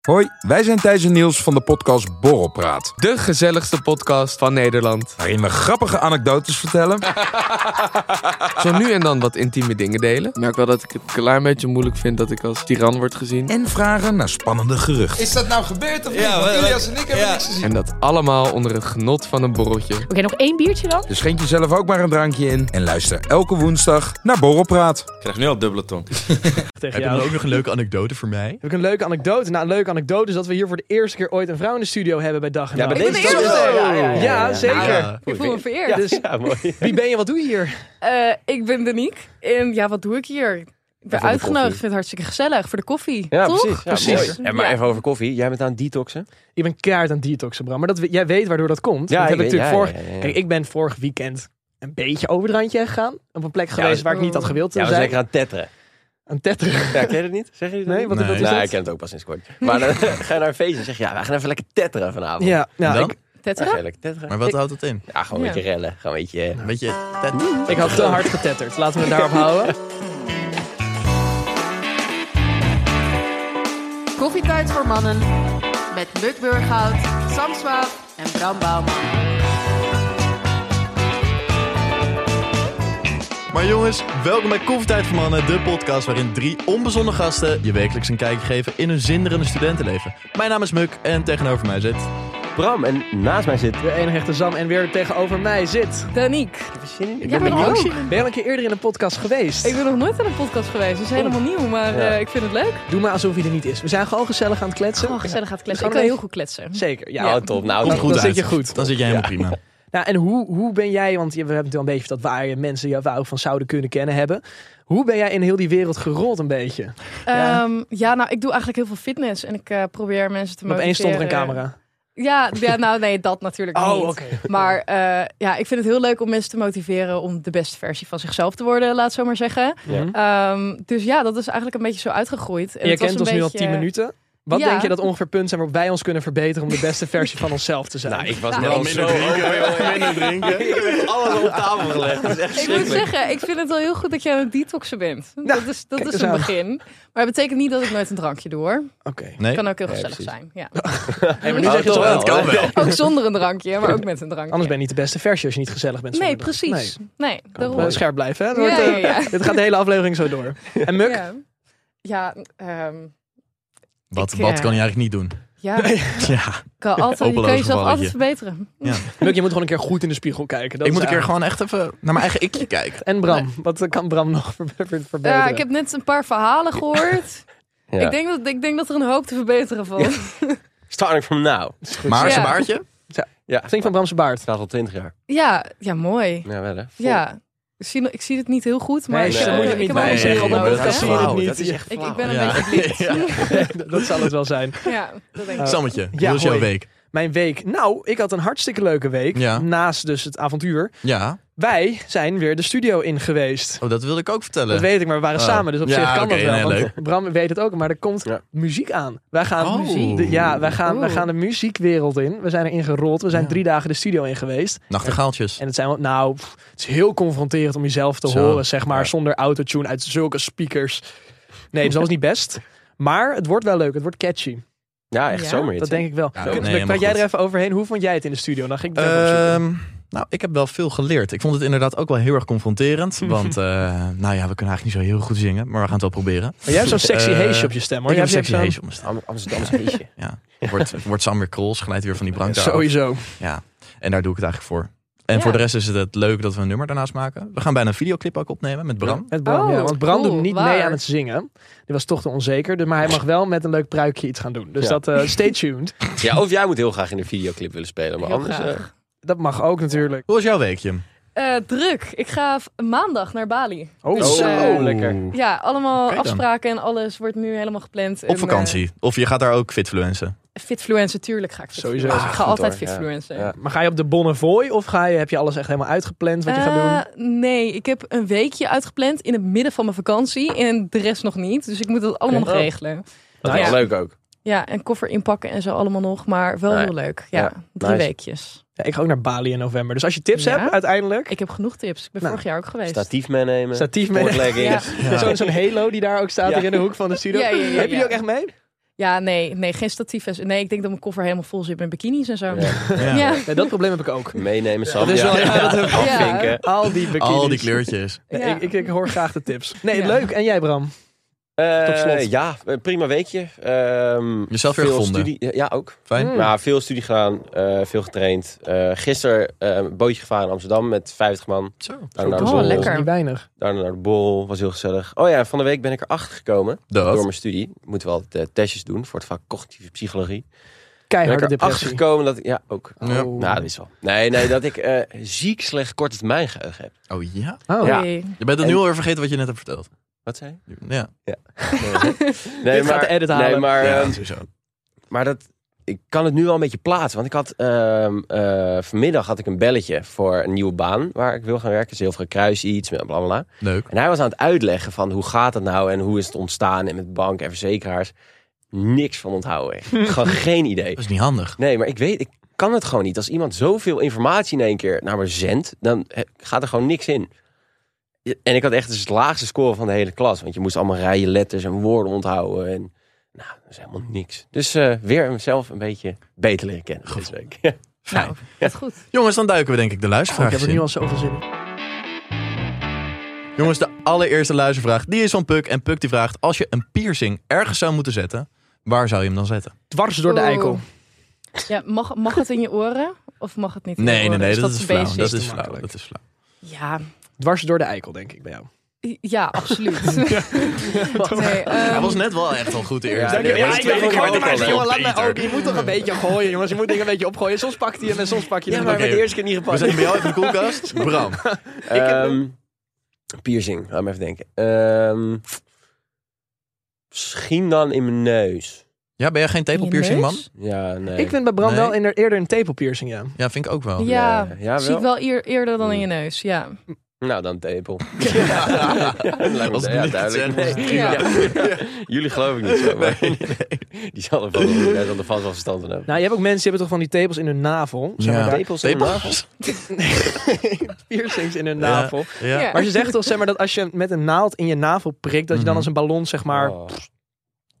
Hoi, wij zijn Thijs en Niels van de podcast Borrelpraat. De gezelligste podcast van Nederland. Waarin we grappige anekdotes vertellen. Zo nu en dan wat intieme dingen delen. Ik merk wel dat ik het een klein beetje moeilijk vind dat ik als tiran word gezien. en vragen naar spannende geruchten. Is dat nou gebeurd of niet? Ja, Want wat- Ilias en ik hebben ja. niks gezien. En dat allemaal onder het genot van een borreltje. Oké, nog één biertje dan? Dus schenk jezelf ook maar een drankje in. En luister elke woensdag naar Borrelpraat. Ik krijg nu al dubbele tong. tegen Heb je jou. dan ook nog een leuke anekdote voor mij? Heb ik een leuke anekdote? Nou, een leuke anekdote is dat we hier voor de eerste keer ooit een vrouw in de studio hebben bij Dag en Ja, Nacht. bij deze ben de Ja, eerste. ja, ja, ja, ja, zeker. Ah. Ja. Ik voel me vereerd. Ja, dus Ja, mooi. wie ben je, wat doe je hier? Eh, ik ben Danique. En ja, wat doe ik hier? Ik ben uitgenodigd. Ik vind het hartstikke gezellig voor de koffie. Ja, toch? precies. Ja, Precies. mooi. En maar Ja. even over koffie. Jij bent aan het detoxen. Ik ben keihard aan het detoxen, Bram. Maar dat, we- jij weet waardoor dat komt. Ja, Want ik heb weet- natuurlijk ja, vorig, ja, ja, ja. Kijk, ik ben vorig weekend een beetje over het randje heen gegaan. Op een plek geweest dat- waar ik niet had gewild. Ja, te we zijn zijn. lekker aan het tetteren. Een tetter. Ja, ken je dat niet? Zeg je dat Nee, niet? wat Nee. dat is Nou, dat? ik ken het ook pas sinds kort. Maar dan ga je naar een feestje en zeg je, ja, we gaan even lekker tetteren vanavond. Ja. Ja, nou, En dan? ik, Dan Tetra? ga je lekker tetteren. Maar wat houdt dat in? Ja, gewoon een Ja. beetje rellen. Gewoon een beetje... eh, Een beetje... tet- ik had te hard getetterd. Laten we het daarop houden. Koffietijd voor mannen met Muk Burghout, Sam Swaap en Bram Bouwman. Maar jongens, welkom bij Koffietijd voor Mannen, de podcast waarin drie onbezonnen gasten je wekelijks een kijkje geven in hun zinderende studentenleven. Mijn naam is Muk en tegenover mij zit... Bram, en naast mij zit... De enige echte Sam en weer tegenover mij zit. Danique. Ik Jij ben bent er ook. Ben je al een keer eerder in een podcast geweest? Ik ben nog nooit aan een podcast geweest. Dat is helemaal nieuw, maar Ja. eh, ik vind het leuk. Doe maar alsof hij er niet is. We zijn gewoon gezellig aan het kletsen. Gewoon gezellig gaat kletsen. Dus Ik kan gewoon heel goed kletsen. Zeker. Ja, Ja, oh, top. Nou, Komt dan- goed dan uit. zit je- je goed. Dan zit je helemaal prima. Nou, en hoe, hoe ben jij, want je- we hebben het al een beetje dat waar je mensen jou wou van zouden kunnen kennen hebben. Hoe ben jij in heel die wereld gerold een beetje? Maar Ja. Ja. ja, nou, ik doe eigenlijk heel veel fitness. En ik eh, probeer mensen te motiveren. opeens stond er een camera. Oh, Ja, ja, nou nee, dat natuurlijk niet. Maar eh, ja, ik vind het heel leuk om mensen te motiveren om de beste versie van zichzelf te worden, laat zo maar zeggen. Ja. Ehm, dus ja, dat is eigenlijk een beetje zo uitgegroeid. En Je het was kent een ons nu al beetje- 10 minuten. Wat Ja. denk je dat ongeveer punten zijn waarop wij ons kunnen verbeteren om de beste versie van onszelf te zijn? Nou, ik was Nou, net al zo open, minder drinken. joh. Ik heb alles op tafel gelegd. Dat is echt Ik moet schrikkelijk. zeggen, ik vind het wel heel goed dat je aan het detoxen bent. dat is, dat Nou, kijk is eens een aan. begin. Maar het betekent niet dat ik nooit een drankje doe hoor. Oké. Nee? kan ook heel Nee, gezellig precies. zijn. Ja. Hey, maar nu Nou, zeg je toch toch wel. wel. Het kan wel. Ook zonder een drankje, maar ook met een drankje. Anders ben je niet de beste versie als je niet gezellig bent. Nee, zonder dat. precies. Nee. Nee, We daarom. moeten Scherp blijven, hè? Het Ja, wordt, eh, ja, ja. Dit gaat de hele aflevering zo door. En Muk? Ja, ja, ehm, Wat, Ik, wat eh, kan je eigenlijk niet doen? Ja, ja kan altijd, je kan Hopeloos jezelf altijd gevalletje. verbeteren. Muk, je moet gewoon een keer goed in de spiegel kijken. Dat ik is moet een keer eigenlijk- gewoon echt even naar mijn eigen ikje kijken. En Bram, wat eh, kan Bram nog ver- ver- verbeteren? Ja, ik heb net een paar verhalen gehoord. Ja. ik, denk dat, ik denk dat er een hoop te verbeteren valt. Starting from now. Maar Ja. zijn baardje? Ja, Flink van Bramse baard. staat al 20 jaar. Ja, ja mooi. Ja, wel hè. Vol- Ja. Ik zie, ik zie het niet heel goed, maar Nee, ik, dat eh, moet je ik niet heb bij wel een zeggen, bril maar nodig. dat hè? zie je het niet. Dat is echt Ik, flauw. ik ben een Ja. beetje blind. Ja. dat zal het wel zijn. dat denk ik. Sammetje, Ja, hoe is jouw hoi. week? Mijn week. Nou, ik had een hartstikke leuke week. Ja. Naast dus het avontuur. Ja, Wij zijn weer de studio in geweest. oh, dat wilde ik ook vertellen. Dat weet ik, maar we waren Oh. samen, dus op Ja, zich kan oké, dat wel. nee, want leuk. Bram weet het ook, maar er komt Ja. muziek aan. Wij gaan, Oh. Muziek? de, ja, wij, gaan, wij Oeh. gaan de muziekwereld in. We zijn erin gerold. We zijn Ja. drie dagen de studio in geweest. Nachtegaaltjes. En het, zijn, wel- nou, pff, het is heel confronterend om jezelf te Zo. horen, zeg maar, Ja. zonder autotune uit zulke speakers. Nee, dus dat was niet best. Maar het wordt wel leuk. Het wordt catchy. Ja, echt Ja, zomerhit. Dat denk ik wel. Ja, Kun- nee, Muk, helemaal praat jij er goed. even overheen? Hoe vond jij het in de studio? Dan ging ik het even opzoeken. Ehm, nou, ik heb wel veel geleerd. Ik vond het inderdaad ook wel heel erg confronterend. Want, eh, nou ja, we kunnen eigenlijk niet zo heel goed zingen, maar we gaan het wel proberen. Maar jij hebt zo'n sexy eh, heesje op je stem, hoor. ik Jij heb een sexy hebt heesje op mijn stem. Am- Amsterdamse feestje. Wordt, wordt Sam weer krols, glijdt weer van die zo'n- branca af. Sowieso. Ja, en daar doe ik het eigenlijk voor. En Ja. voor de rest is het, het leuk dat we een nummer daarnaast maken. We gaan bijna een videoclip ook opnemen met Bram. Met Bram, Oh, ja. Want Bram cool, doet niet mee waar? aan het zingen. Die was toch te onzeker. Dus, maar hij mag wel met een leuk pruikje iets gaan doen. Dus Ja. dat, eh, stay tuned. Ja, of jij moet heel graag in een videoclip willen spelen. Maar Heel anders... graag. eh, Dat mag ook natuurlijk. Hoe was jouw weekje? Eh, druk. Ik ga v- maandag naar Bali. Oh, Dus, zo. eh, lekker. Ja, allemaal Oké dan. afspraken en alles wordt nu helemaal gepland. En, Op vakantie. Of je gaat daar ook fitfluenzen. eh, Fitfluencer, tuurlijk ga ik fitfluencer. Sowieso. ik Ah, ga goed altijd hoor, ja. fitfluencer. Ja. Maar ga je op de Bonnevoy of ga je, heb je alles echt helemaal uitgepland wat je gaat doen? Nou Eh, nee, ik heb een weekje uitgepland in het midden van mijn vakantie en de rest nog niet. Dus ik moet dat allemaal Oké. nog regelen. Dat Nou is ja. leuk ook. Ja, en koffer inpakken en zo allemaal nog, maar wel Nee. heel leuk. Ja, Ja, drie nice. weekjes. Ja, ik ga ook naar Bali in november. Dus als je tips Ja. hebt uiteindelijk, Ik heb genoeg tips. Ik ben Nou, vorig jaar ook geweest. Statief meenemen. statief mee. Sportleggings. Ja. Zo'n zo'n halo die daar ook staat Ja. hier in de hoek van de studio. Ja, ja, ja, Heb je die ja. ook echt mee? Ja, nee, nee, geen statief. en zo. Nee, ik denk dat mijn koffer helemaal vol zit met bikinis en zo. Ja, Ja. ja. Ja, dat probleem heb ik ook. Meenemen, Sam. Dat is wel- ja, dat heb Afvinken. Al die bikinis. Al die kleurtjes. Nee, Ja. Ik, ik, ik hoor graag de tips. Nee, Ja. leuk. En jij, Bram? Eh, Tot slot. ja, eh, prima weekje. Ehm, Jezelf weer veel gevonden. Studie, ja, ook. Fijn. Mm. Nou, veel studie gedaan, eh, veel getraind. Eh gisteren eh, een bootje gevaren in Amsterdam met 50 man. Zo. Daarna naar de Oh, borrel. lekker. Niet weinig. Daarna naar de borrel, was heel gezellig. Oh ja, van de week ben ik erachter gekomen door Dat. mijn studie. Moeten we altijd eh, testjes doen voor het vak cognitieve psychologie. Ben ik Keiharde erachter depressie. gekomen dat... Ja, ook. Ja. Oh. Nou, dat is wel. Nee, nee, dat ik eh, ziek slecht korte termijn geheugen heb. Oh ja? Oh. Ja. Oei. Je bent het En- nu alweer vergeten wat je net hebt verteld. Wat zei je? Ja. Nee, Dit gaat de edit Nee, halen. maar... ja, ehm, sowieso. Maar dat, ik kan het nu wel een beetje plaatsen. Want ik had ehm, eh, vanmiddag had ik een belletje voor een nieuwe baan waar ik wil gaan werken. Zilveren Kruis iets, bla bla bla. Leuk. En hij was aan het uitleggen van hoe gaat het nou en hoe is het ontstaan en met banken en verzekeraars. Niks van onthouden. echt. Gewoon geen idee. Dat is niet handig. Nee, maar ik weet, ik kan het gewoon niet. Als iemand zoveel informatie in één keer naar me zendt, dan eh, gaat er gewoon niks in. En ik had echt dus het laagste score van de hele klas. Want je moest allemaal rijen letters en woorden onthouden. En, nou, dat is helemaal niks. Dus eh, weer mezelf een beetje beter leren kennen deze week. Fijn. Nou, dat is goed. Jongens, dan duiken we denk Oh, ik de Oh, Ik heb luistervraag er nu in. al zoveel zin in. Jongens, de allereerste luistervraag, die is van Puk. En Puk die vraagt, als je een piercing ergens zou moeten zetten, waar zou je hem dan zetten? Dwars door de Oeh. eikel. Oh. Ja, mag, mag het in je oren of mag het niet in je Nee, nee, oren? nee, Dus dat is een flauw. basis Dat te is maken. flauw, dat is flauw. Ja, Dwars door de eikel, denk ik bij jou. ja, absoluut. nee, Hij ehm, was net wel echt al goed de eerste. Ja, nee, maar de ik tweede dacht, ik keer hoorde was maar het eens, al jongen, laat me ook. Je beter. moet toch een beetje gooien, jongens. Je moet dingen een beetje opgooien. Soms pakt hij hem en soms pak je hem Ja, niet. maar met de eerste keer niet We gepast. zijn bij jou even in de koelkast. Bram. Ehm, piercing, laat me even denken. Ehm, misschien dan in mijn neus. Ja, ben jij geen tepelpiercing, Je man? neus? Ja, nee. Ik vind bij Bram Nee. wel inderdaad eerder een tepelpiercing, ja. Ja, vind ik ook wel. ja, Ja, ja, zie wel. ik wel eer- eerder dan in je neus. Ja. Nou, dan tepel. Ja. Lijkt me- Als het ja, niet duidelijk. gezegd Nee. is, prima. Ja. Jullie geloof ik niet zo, maar Nee, die zal er vast wel- daar zal er vast wel verstand van hebben. Nou, je hebt ook mensen die hebben toch van die tepels in hun navel. Zeg maar Ja. daar- Tepels in de navel? Tepels? piercings in hun navel. Ja. Ja. Maar ze zeggen toch zeg maar, dat als je met een naald in je navel prikt, dat je dan Mhm. als een ballon, zeg maar, Oh.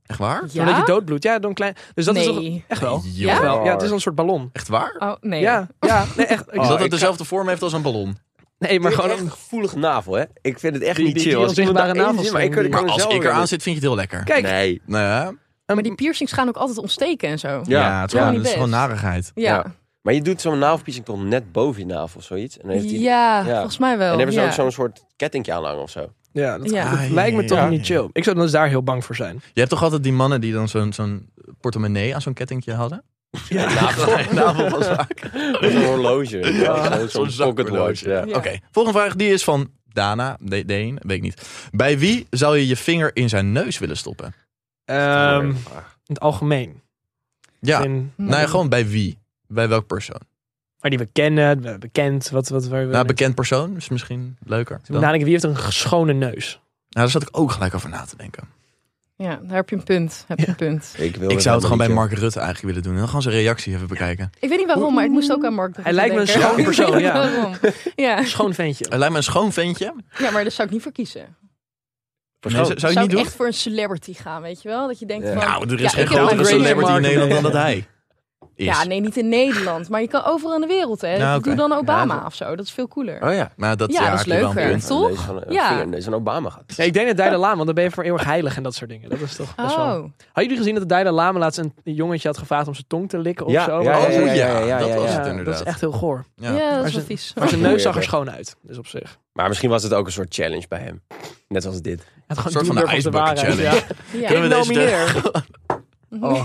Echt waar? Ja? doordat je doodbloedt. Ja, dan klein. Dus dat is toch nee. echt wel. Joh. Ja? wel. Ja, het is een soort ballon. Echt waar? Oh, nee. Ja, ja, nee, echt. Ik Is Oh. dat zat het het dus- dezelfde vorm heeft als een ballon? nee, maar Maar gewoon gewoon. een gevoelige navel, hè? Ik vind het echt Die- niet die- chill. die Als iemand onzichtbare daarin navels zit, maar ik zijn kan die- er Maar als gewoon ik zelf eraan in. zit, vind je het heel lekker. Kijk, ehm, Nee. Nou ja, Oh, Maar die piercings gaan ook altijd ontsteken en zo. Ja. ja, Ja. het is gewoon, Ja, niet het is gewoon best. narigheid. Ja, Maar je doet zo'n navelpiercing toch net boven je navel of zoiets? En dan heeft die... Ja. volgens mij wel. En dan hebben ze ja. ook zo'n soort kettingje aan hangen of zo. ja, dat Ja. dat lijkt me toch Ja. niet chill. Ik zou dan dus daar heel bang voor zijn. Je hebt toch altijd die mannen die dan zo'n zo'n portemonnee aan zo'n kettingje hadden? Ja, navel. Navel was vaak. Zo'n horloge. Ja, zo'n- Zo'n Zo'n pocketorloge. zakhorloge. Ja. Ja. Oké, volgende vraag die is van Dana, De- Deen, weet ik niet. Bij wie zou je je vinger in zijn neus willen stoppen? Ehm, in het algemeen. Ja, In- nou ja, gewoon bij wie? Bij welk persoon? maar die we kennen, be- bekend, wat, wat waar we. Nou, bekend persoon is misschien leuker. Moet Dan. Nou, nadenken, wie heeft een schone neus? daar zat ik ook gelijk over na te denken. Ja, daar heb je een punt. Heb je een punt. Ik, wil Ik zou het gewoon bij helemaal Mark Rutte eigenlijk willen doen. En dan gewoon zijn reactie even bekijken. Ik weet niet waarom, maar ik moest ook aan Mark de Hij Rutte lijkt me een denken. schoon persoon, ja. Waarom? ja. Schoon ventje. Hij lijkt me een schoon ventje. Ja, maar daar zou ik niet voor kiezen. Nee, zou, zou je zou niet ik doen? echt voor een celebrity gaan, weet je wel? Dat je denkt Ja. van... Nou, er is Ja, geen ik heb grotere mijn Grey celebrity in Mark. Nederland dan dat hij is. Ja, nee, niet in Nederland. Maar je kan overal in de wereld, hè. Nou, oké. Doe dan Obama Ja, of zo. Dat is veel cooler. Oh ja. Maar dat, Ja, ja, dat is heb je wel een leuker. punt. Toch? Deze van, eh, Ja. vinger, deze van Obama gaat. Ja, ik denk dat Dalai Lama, want dan ben je voor eeuwig heilig en dat soort dingen. Dat is toch best wel... Oh. Hadden jullie gezien dat de Dalai Lama laatst een jongetje had gevraagd om zijn tong te likken of Ja, zo? ja, Maar- Oh ja, ja, ja, ja, dat ja, was ja. het dat inderdaad. is echt heel goor. Ja, Ja. dat Maar is wel ze- vies. Maar zijn Oh. neus zag er schoon uit. Dus op zich. Maar misschien was het ook een soort challenge bij hem. Net als dit. Het Een soort van de ijsbucket challenge. Ja. Kunnen we deze Oh.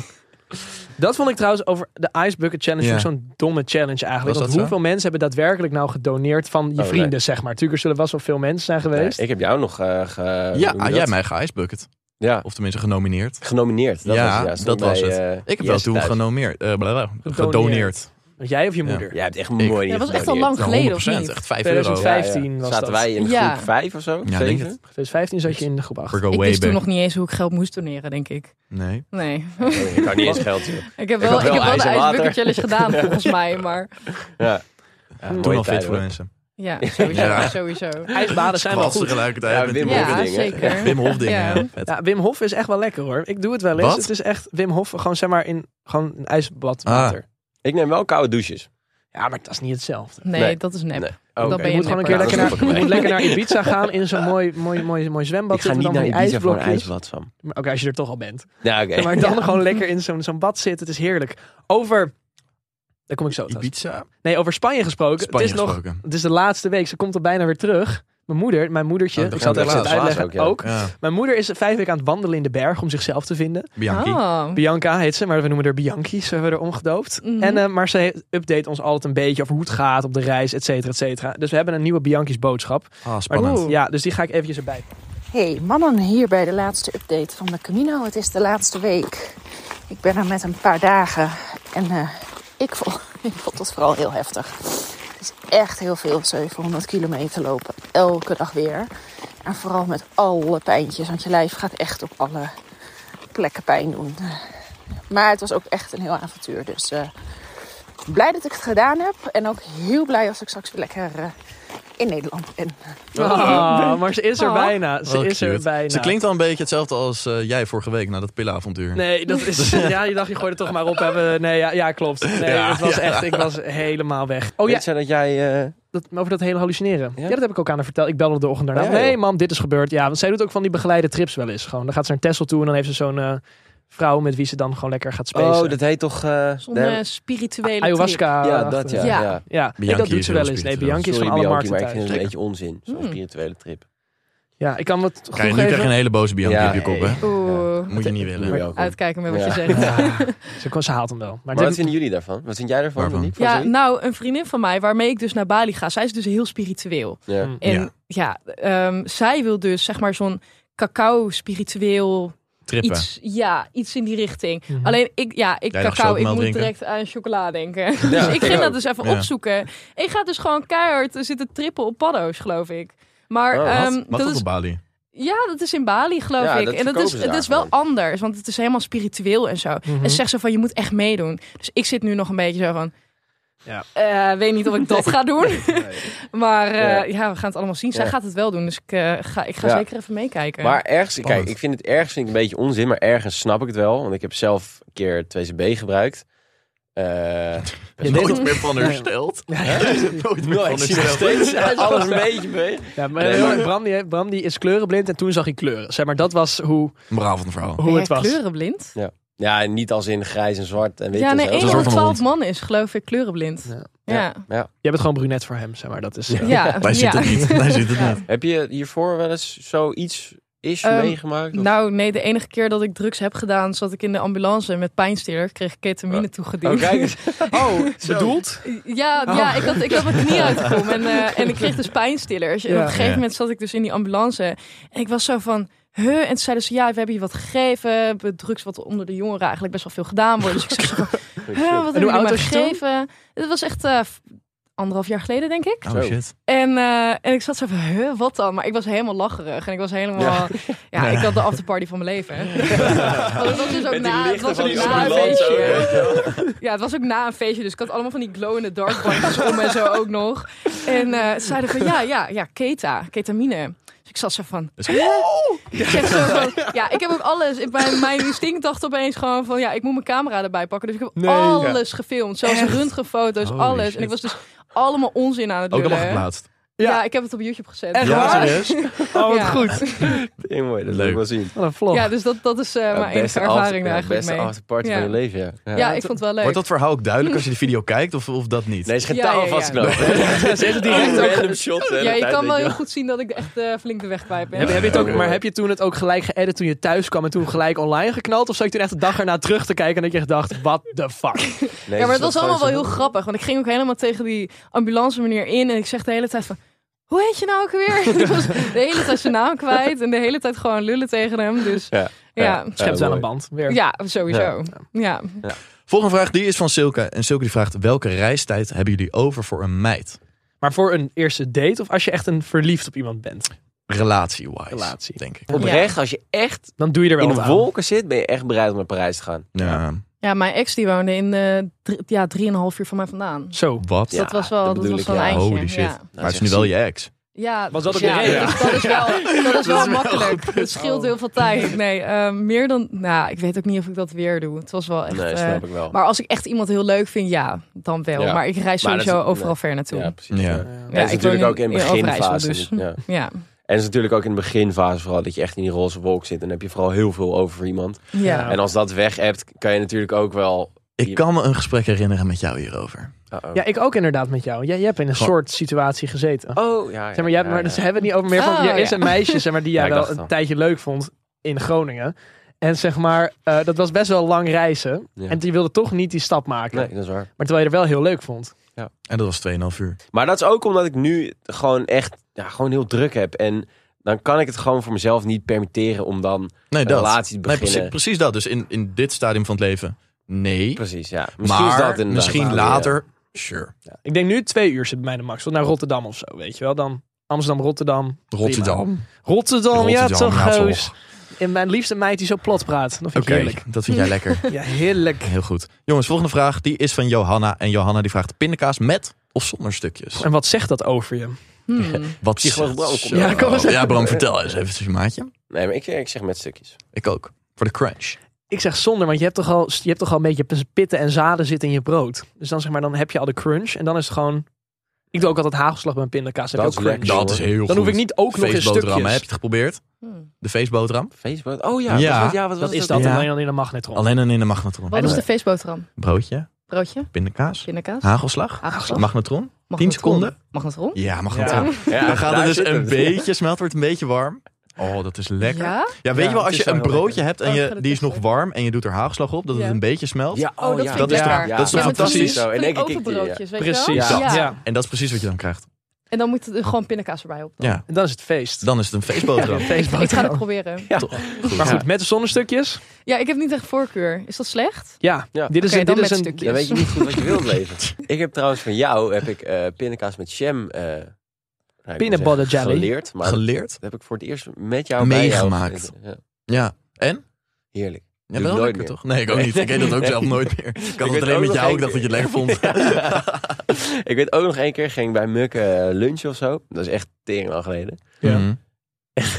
Dat vond ik trouwens over de Ice Bucket Challenge Ja. vond ik zo'n domme challenge eigenlijk. Was Want dat hoeveel mensen hebben daadwerkelijk nou gedoneerd van Oh, je nee. vrienden, zeg maar. Tuurlijk er zullen vast wel veel mensen zijn geweest. Ik heb jou nog eh, ge- hoe Ja, noem je dat? jij hebt mij geïcebucket. Ja, Of tenminste genomineerd. genomineerd. Dat Ja, was, het, ja, stond dat was bij, het. eh, Ik heb wel Yes toen thuis. genomineerd. eh, bla, bla, bla, Gedoneerd. gedoneerd. Want jij of je Ja. moeder. Jij hebt echt Ik. mooi Ja, dat was echt al lang Nou, geleden, of 100%, niet? Echt 5 euro. 2005. Ja, 15 was Zaten dat. wij in Ja. groep 5 of zo? ik denk Zeven? het. 2015 zat je in de groep acht. We go Ik way wist toen back. nog niet eens hoe ik geld moest doneren, denk ik. Nee. Nee. Nee, Ik had niet eens geld. joh. Ik heb Ik wel, had ik wel heb wel ijs de en water. ijsbucket challenge gedaan, volgens mij. Maar Ja. Ja, mooie Toen al fit tijden, voor de hoor. mensen. Ja, sowieso. Ja. sowieso. Ijsbaden zijn wel Kwast goed. tegelijkertijd. Ja, Wim met- Hof Ja, dingen. zeker. Wim Hof dingen. Ja. ja, vet. Ja, Wim Hof is echt wel lekker hoor. Ik doe het wel eens. Wat? Het is echt Wim Hof, gewoon zeg maar in gewoon een ijsbad Ah. water. Ik neem wel koude douches. Ja, maar dat is niet hetzelfde. Nee, Nee. dat is nep. Nee. Dan oké. ben Je moet gewoon een keer lekker nipper. Ja, dat naar, snap ik je moet wel. lekker naar Ibiza gaan in zo'n mooi, mooi, mooi, mooi zwembad. Ik ga zitten niet met naar allemaal van die Ibiza voor een ijsblokjes. ijsbad, Sam. Maar Ook als je er toch al bent. Ja, oké. Maar dan gewoon lekker in zo'n zo'n bad zitten. Het is heerlijk. Over, daar kom ik zo thuis. Ibiza. Nee, over Spanje gesproken. Spanje het is nog, gesproken. het is de laatste week. Ze komt al bijna weer terug. Mijn moeder, mijn moedertje. Oh, dat ik zal het gaat even helaas. uitleggen. Ook, Helaas ook, Ja. Mijn moeder is vijf weken aan het wandelen in de berg om zichzelf te vinden. Bianchi. Ah. Hm. Bianca heet ze, maar we noemen haar Bianchi. Ze hebben we er omgedoopt. Mhm. En, eh, maar ze update ons altijd een beetje over hoe het gaat op de reis, et cetera, et cetera. Dus we hebben een nieuwe Bianchi's boodschap. Ah, Maar- spannend. Ja, dus die ga ik eventjes erbij pakken. Hey mannen, hier bij de laatste update van de Camino. Het is de laatste week. Ik ben er met een paar dagen en eh, ik, vond, ik vond het vooral heel heftig. Het is echt heel veel, 700 kilometer lopen, elke dag weer. En vooral met alle pijntjes, want je lijf gaat echt op alle plekken pijn doen. Maar het was ook echt een heel avontuur, dus eh, blij dat ik het gedaan heb. En ook heel blij als ik straks weer lekker eh, in Nederland ben. Ah, maar ze is er bijna. Ze Oh, is er cute. bijna. Ze klinkt al een beetje hetzelfde als eh, jij vorige week na dat pillenavontuur. Nee, dat is. Ja, je dacht, je gooit het toch maar op. Hebben. Nee, ja, ja klopt. Nee, Ja, het was ja. echt. Ik was helemaal weg. Oh Weet ja, zij dat jij... eh, dat, over dat hele hallucineren. Ja? Ja? dat heb ik ook aan haar verteld. Ik belde de ochtend daarna. Oh, ja, joh. nee, mam, dit is gebeurd. Ja, want zij doet ook van die begeleide trips wel eens. Gewoon, dan gaat ze naar Tesla toe en dan heeft ze zo'n eh, vrouw met wie ze dan gewoon lekker gaat spelen. oh, dat heet toch... eh, Zo'n daar- eh, spirituele trip. ayahuasca. ja, eh, dat ja. Ja. ja. Ja, nee, Bianchi dat doet is ze heel wel eens. Nee, spiritueel. Bianchi is Sorry, van alle Bianchi, maar markten ik vind thuis. het een beetje onzin. Zo'n Hmm. spirituele trip. Ja, ik kan wat Krijg je, nu krijg je een hele boze Bianchi Ja. op je kop, hè? Oeh. Moet je niet willen. Doe je ook, hoor. Uitkijken met wat Ja. je zegt. Ze, kon- ze haalt hem wel. Maar, Maar wat dit- vinden jullie daarvan? Wat vind jij daarvan, Waarvan? Monique? Van Ja, zoiets? nou, een vriendin van mij, waarmee ik dus naar Bali ga, zij is dus heel spiritueel. Ja. Hmm. En ja, ehm, zij wil dus zeg maar zo'n cacao spiritueel Trippen. iets, ja, iets in die richting. Mhm. Alleen ik, ja, ik Jij dacht cacao, ik chocomel moet drinken? direct aan chocola denken. Ja, dus ik ik ging dat ook. dus even Ja. opzoeken. Ik ga dus gewoon keihard zitten trippen op paddo's, geloof ik. Maar Oh, ehm, Wat dat dat is op Bali? Ja, dat is in Bali, geloof Ja, ik. dat en dat verkopen is, ze het daar is wel gewoon. anders, want het is helemaal spiritueel en zo. Mhm. En ze zegt zo van, je moet echt meedoen. Dus ik zit nu nog een beetje zo van... Ja. eh, weet niet of ik dat ga doen. maar eh, Ja. ja, we gaan het allemaal zien. Zij Ja. gaat het wel doen, dus ik eh, ga, ik ga Ja. zeker even meekijken. Maar ergens, Spannend. kijk, ik vind het ergens vind ik een beetje onzin, maar ergens snap ik het wel. Want ik heb zelf een keer het 2CB gebruikt. Eh, Je best- deed Nooit meer van hersteld. Nooit meer Nou, van ik zie nog hersteld. steeds ja, alles een beetje mee. Ja, maar Nee, maar- Bram, die, Bram die is kleurenblind en toen zag hij kleuren. Zeg maar, dat was hoe, Braaf van verhaal. hoe Ben het jij was. Eh, kleurenblind? Ja, en niet als in grijs en zwart en wit. Ja, en nee, zo. één een van soort de van twaalf mannen is geloof ik kleurenblind. Ja. Ja. Ja. Jij bent gewoon brunet voor hem, zeg maar. Dat is, eh, ja. Wij zitten het niet. Wij zitten het niet. Heb je hiervoor wel eens zoiets is Ehm, meegemaakt? Of- Nou, nee, de enige keer dat ik drugs heb gedaan, zat ik in de ambulance met pijnstiller. Kreeg ik ketamine toegediend. Oh, kijk eens. Oh, bedoeld? Ja, Oh. ja ik, had, ik had mijn knie uitgekomen en, eh, en ik kreeg dus pijnstillers. En Ja. op een gegeven Ja. moment zat ik dus in die ambulance en ik was zo van... Huh? En toen zeiden ze, ja, we hebben je wat gegeven. Drugs wat onder de jongeren eigenlijk best wel veel gedaan wordt. Dus ik zeg, huh, wat hebben hoe jullie oud mij was je toen? gegeven? Dat was echt eh, f- anderhalf jaar geleden, denk ik. Oh Zo. shit. En, eh, en ik zat zo van, huh, wat dan? Maar ik was helemaal lacherig. En ik was helemaal... Ja, ik had de afterparty van mijn leven. Want het was dus ook Oh, Met die na, het lichten was van ook die na een ambulance ook, feestje. weet je wel. Ja, het was ook na een feestje, dus ik had allemaal van die glow-in-the-dark bandjes om en zo ook nog. En eh, ze zeiden van, ja, ja, ja, keta, ketamine. Dus ik zat zo van, Dus- Oh! ik heb zo van, ja, ik heb ook alles. Ik, mijn, mijn instinct dacht opeens gewoon van, ja, ik moet mijn camera erbij pakken. Dus ik heb Nee. alles gefilmd, zelfs röntgenfoto's, Holy alles. shit. Oh, En ik was dus allemaal onzin aan het Ook lullen. allemaal geplaatst. Ja. Ja. ik heb het op YouTube gezet. Echt Ja, waar? serieus? Oh, wat Ja. goed. Oh. Heel mooi, dat wil Leuk. ik wel zien. Wat een vlog. Ja, dus dat, dat is eh, Ja, mijn enige beste ervaring after- daar ja, eigenlijk beste mee. afterparty Ja. van je leven, ja. ja, ik vond het wel leuk. Wordt dat verhaal ook duidelijk als je de video kijkt of, of dat niet? Nee, ze gaan Ja, touwen ja, ja. vastknopen. Ze heeft het direct Een ook- random shot. hè, de ja, je tijd, kan weet wel je heel goed zien dat ik echt eh, flink de weg kwijt ben. Heb, heb je het ook, Ja. maar heb je toen het ook gelijk geëdit toen je thuis kwam en toen gelijk online geknald? Of zou je toen echt de dag erna terug te kijken en dat je echt dacht, what the fuck? Nee, ja, maar ze het was zat allemaal wel gewoon heel zo- grappig. Want ik ging ook helemaal tegen die ambulance meneer in. En ik zeg de hele tijd van... Hoe heet je nou ook weer? ik was de hele tijd zijn naam kwijt. En de hele tijd gewoon lullen tegen hem. Dus ja, Ja, ja. Schept aan mooi. een band. Weer. sowieso. Ja. Volgende vraag, die is van Silke. En Silke die vraagt, welke reistijd hebben jullie over voor een meid? Maar voor een eerste date of als je echt een verliefd op iemand bent, Relatie-wise, Relatie. denk ik. Oprecht, als je echt dan doe je er wel in wat de aan. wolken zit, ben je echt bereid om naar Parijs te gaan. Nou, Ja. Ja, mijn ex die woonde in eh drie, ja, drieënhalf uur van mij vandaan. Dus Zo. Wat? Ja, dat was wel, dat dat bedoel was ik, wel een ja. eindje. Holy shit. Ja. Nou, Maar het is nu wel je ex. Ja, Was dat ook ja, de reden? dus dat is wel, dat is wel makkelijk. Het scheelt heel veel tijd. Nee, eh, meer dan... Nou, ik weet ook niet of ik dat weer doe. Het was wel echt... Nee, eh, snap ik wel. maar als ik echt iemand heel leuk vind, ja, dan wel. Ja. Maar ik reis Maar dat sowieso is- overal nee. ver naartoe. Ja, Ja, precies. Ja. Ja. En Ja. het is ik woon natuurlijk ook in de Overijssel beginfase. dus. Ja. Ja. En het is natuurlijk ook in de beginfase vooral dat je echt in die roze wolk zit. En dan heb je vooral heel veel over voor iemand. Ja. En als dat weg hebt, kan je natuurlijk ook wel... Ik kan me een gesprek herinneren met jou hierover. Uh-oh. Ja, ik ook inderdaad met jou. Jij, jij hebt in een Gewoon- soort situatie gezeten. Oh, ja. ja, Zeg maar, jij, ja, maar dus ja. ze hebben het niet over meer van... Oh, er is ja. een meisje zeg maar, die jij Ja, ik wel dacht een al. tijdje leuk vond in Groningen. En zeg maar, eh, dat was best wel lang reizen. Ja. En die wilde toch niet die stap maken. Nee, dat is waar. Maar terwijl je er wel heel leuk vond. En dat was 2,5 uur. Maar dat is ook omdat ik nu gewoon echt ja, gewoon heel druk heb. En dan kan ik het gewoon voor mezelf niet permitteren om dan... Nee, Een dat. relatie te Nee, beginnen. precies, precies dat. Dus in, in dit stadium van het leven, nee. Precies, ja. Misschien Misschien is dat maar inderdaad wel, misschien ja. later, sure. Ik denk nu twee uur zit bij mij de max. Want Naar Rotterdam of zo, weet je wel. Dan Amsterdam, Rotterdam. Rotterdam. Rotterdam, ja Rotterdam, toch, Oh, ja, toch. goos. En mijn liefste meid die zo plat praat. Dat vind ik Oké, heerlijk. dat vind jij lekker. Ja, heerlijk. Heel goed. Jongens, volgende vraag. Die is van Johanna. En Johanna die vraagt pindakaas met of zonder stukjes. En wat zegt dat over je? Hmm. Wat Psycholoog zegt Bram, kom ze? maar. Ja, kom maar Ja, Bram, vertel eens even, maatje. Nee, maar ik, ik zeg met stukjes. Ik ook. Voor de crunch. Ik zeg zonder, want je hebt toch al, je hebt toch al een beetje pitten en zaden zitten in je brood. Dus dan zeg maar, dan heb je al de crunch. En dan is het gewoon... Ik doe ook altijd hagelslag met pindakaas. Dan heb Dat je ook is crunch. lekker. Dat is heel goed. Dan hoef ik niet ook nog eens Feestboterham, hè? stukjes. Heb je het geprobeerd? Hmm. De feestboterham? Facebook? Oh ja, Ja, wat, was- ja, wat was Dat is ook dat. weer? Ja. Alleen dan in een magnetron. Alleen en in de magnetron. Wat is de feestboterham? Broodje, Broodje? pindakaas, Pindakaas? hagelslag, Hagelslag? magnetron. Magnetron? seconden? Magnetron? Ja, magnetron. Ja, Dan gaat daar het dus zit een hem. beetje smelt, wordt een beetje warm. Oh, dat is lekker. Ja, Ja? weet Ja, het je wel, als is je wel een heel broodje hebt en Oh, je, gaat het die is nog echt warm en je doet er haagslag op, dat het Ja, een beetje smelt. Ja, Oh, dat ja. vind Dat ik is lekker. toch- dat is toch Ja, met van die fantastisch? Zo, in één keer kikt die, ja. overbroodjes, weet je Precies. wel? dat. Ja. Ja. En dat is precies wat je dan krijgt. En dan moet er gewoon pindakaas erbij op. Ja, En dan is het feest. dan is het een feestboterham. Ik ga het Feestboterham. proberen. Maar Ja. goed, met de zonnestukjes? Ja, ik heb niet echt voorkeur. Is dat slecht? Ja. Ja. Dit is, Oké, een- dan dit is met een... stukjes. Dan weet je niet goed wat je wilt leven. Ik heb trouwens van jou heb ik eh pindakaas met jam eh, nou, ik wil Peanut zeggen butter jelly. geleerd, maar Geleerd. dat heb ik voor het eerst met jou Meegemaakt. Bij jou. Ja, Ja. En? heerlijk. Ja, Doe ik wel nooit lekker meer. toch? Nee, ik ook niet. Ik eet dat ook Nee. zelf nooit meer. Ik had weet het alleen ook met nog jou. één Ik dacht dat je het keer. lekker vond. ik weet ook nog één keer ging ik bij Muk eh, lunchen of zo. Dat is echt tering lang geleden. Ja.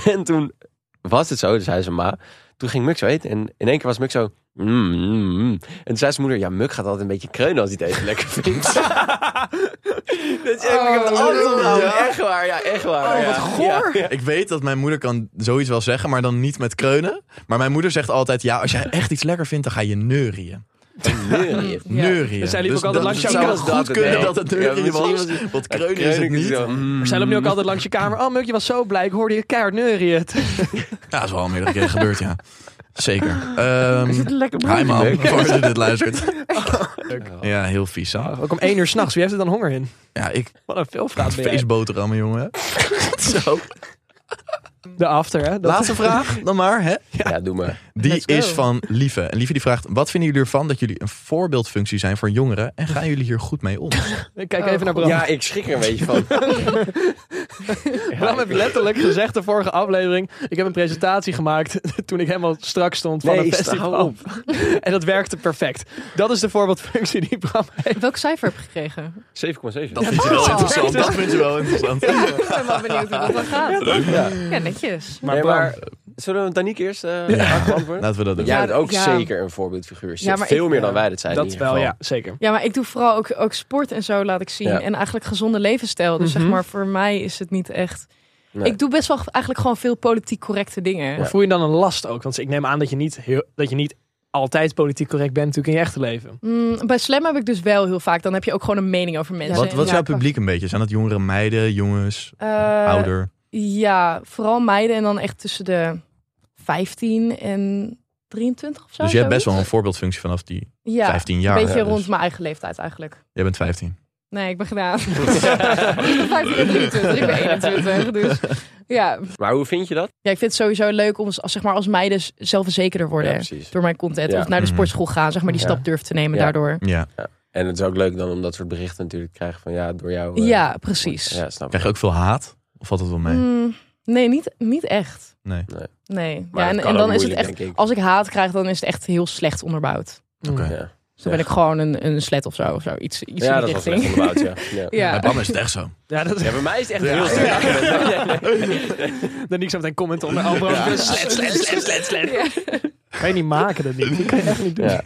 En toen was het zo, dus hij zei ma. Toen ging Muk zo eten en in één keer was Muk zo... "Mm, mm, mm." En toen zei zijn moeder, ja, Muk gaat altijd een beetje kreunen als hij het eten lekker vindt. dat is echt, ik Oh, heb het altijd onthouden. Echt waar, ja, echt waar. ja. Ja. Ik weet dat mijn moeder kan zoiets wel zeggen, maar dan niet met kreunen. Maar mijn moeder zegt altijd, ja, als jij echt iets lekker vindt, dan ga je neurien. Neurien. Ja. Neurien. Dus zij liep ook altijd dat- langs het jou zou en goed dat het kunnen wel. dat het Ja, neurien misschien was, was want kreunen is het niet. Zo, Ja, mm. Maar zij loopt nu ook altijd langs je kamer. Oh, Muk, je was zo blij. Ik hoorde je keihard neurien. dat is wel al meerdere keren gebeurd, ja. Zeker. Ehm Lekker hi man, voor je dit luistert. Ja, heel vies. hè? Ook om één uur s'nachts. Wie heeft er dan honger in? Ja, ik Wat een veelvraat ben jij. feestboterhammen, jongen. Zo. De after, hè? Dat- Laatste vraag dan maar, hè. Ja, doe maar. Die Let's go. is van Lieve. En Lieve die vraagt: Wat vinden jullie ervan dat jullie een voorbeeldfunctie zijn voor jongeren? En gaan jullie hier goed mee om? Ik Kijk Oh, even naar Bram. Ja, ik schrik er een beetje van. Bram heeft letterlijk gezegd de vorige aflevering. Ik heb een presentatie gemaakt toen ik helemaal strak stond van Nee, een sta festival. op. En dat werkte perfect. Dat is de voorbeeldfunctie die Bram heeft. Welk cijfer heb je gekregen? 7,7. Dat vind je wel interessant. Dat vind je wel interessant. Ik ben wel benieuwd hoe dat dan gaat. Ja. Ja, netjes. Maar, maar zullen we Daniek eerst eh beantwoorden? Laten we dat doen. Jij bent ook Ja. zeker een voorbeeldfiguur. Zit Ja, maar Veel ik- eh, meer dan ja. wij dat zijn. in Dat ieder wel, geval. ja, zeker. Ja, maar ik doe vooral ook, ook sport en zo laat ik zien. Ja. En eigenlijk gezonde levensstijl. Dus Mhm. zeg maar, voor mij is het niet echt... Nee. Ik doe best wel eigenlijk gewoon veel politiek correcte dingen. Maar voel je dan een last ook? Want ik neem aan dat je niet, heel, dat je niet altijd politiek correct bent natuurlijk in je echte leven. Mm, bij Slam heb ik dus wel heel vaak. Dan heb je ook gewoon een mening over mensen. Wat, wat is Ja, jouw publiek een beetje? Zijn dat jongere meiden, jongens, Eh, ouder? Ja, vooral meiden en dan echt tussen de 15 en 23 of zo. Dus jij hebt best wel zoiets. een voorbeeldfunctie vanaf die ja, 15 jaar. Een beetje Ja, dus rond mijn eigen leeftijd eigenlijk. Jij bent 15. Nee, ik ben gedaan. ik ben 15 en 23, ik ben 21. Dus ja. Maar hoe vind je dat? ja, ik vind het sowieso leuk om als, als, zeg maar, als meiden s- zelfverzekerder worden. Ja, precies. door mijn content. Ja. Of naar de Mhm. sportschool gaan, zeg maar, die Ja. stap durft te nemen Ja. daardoor. Ja. En het is ook leuk dan om dat soort berichten natuurlijk te krijgen van ja, door jou. eh, Ja, precies. Ja, snap ik. Krijg je ook veel haat? Of valt het wel mee? Mm, nee, niet, niet echt. Nee. Nee. Nee. Maar ja, dat en, kan en ook dan is het moeilijk, echt, denk ik. als ik haat krijg, dan is het echt heel slecht onderbouwd. Oké. Mm, Ja, Dus dan ben ik gewoon een, een slet of zo. Of zo. Iets, iets ja in dat die was richting. echt onderbouwd, ja. Ja. Bij ja. Bram is het echt zo. Ja, dat Ja, bij mij is het echt Ja. heel sterk. Dan niet zo meteen comment onder Albro. Slet, slet, slet, slet, slet. Kan je niet maken, dat niet. Dat kan je echt niet doen. Ja.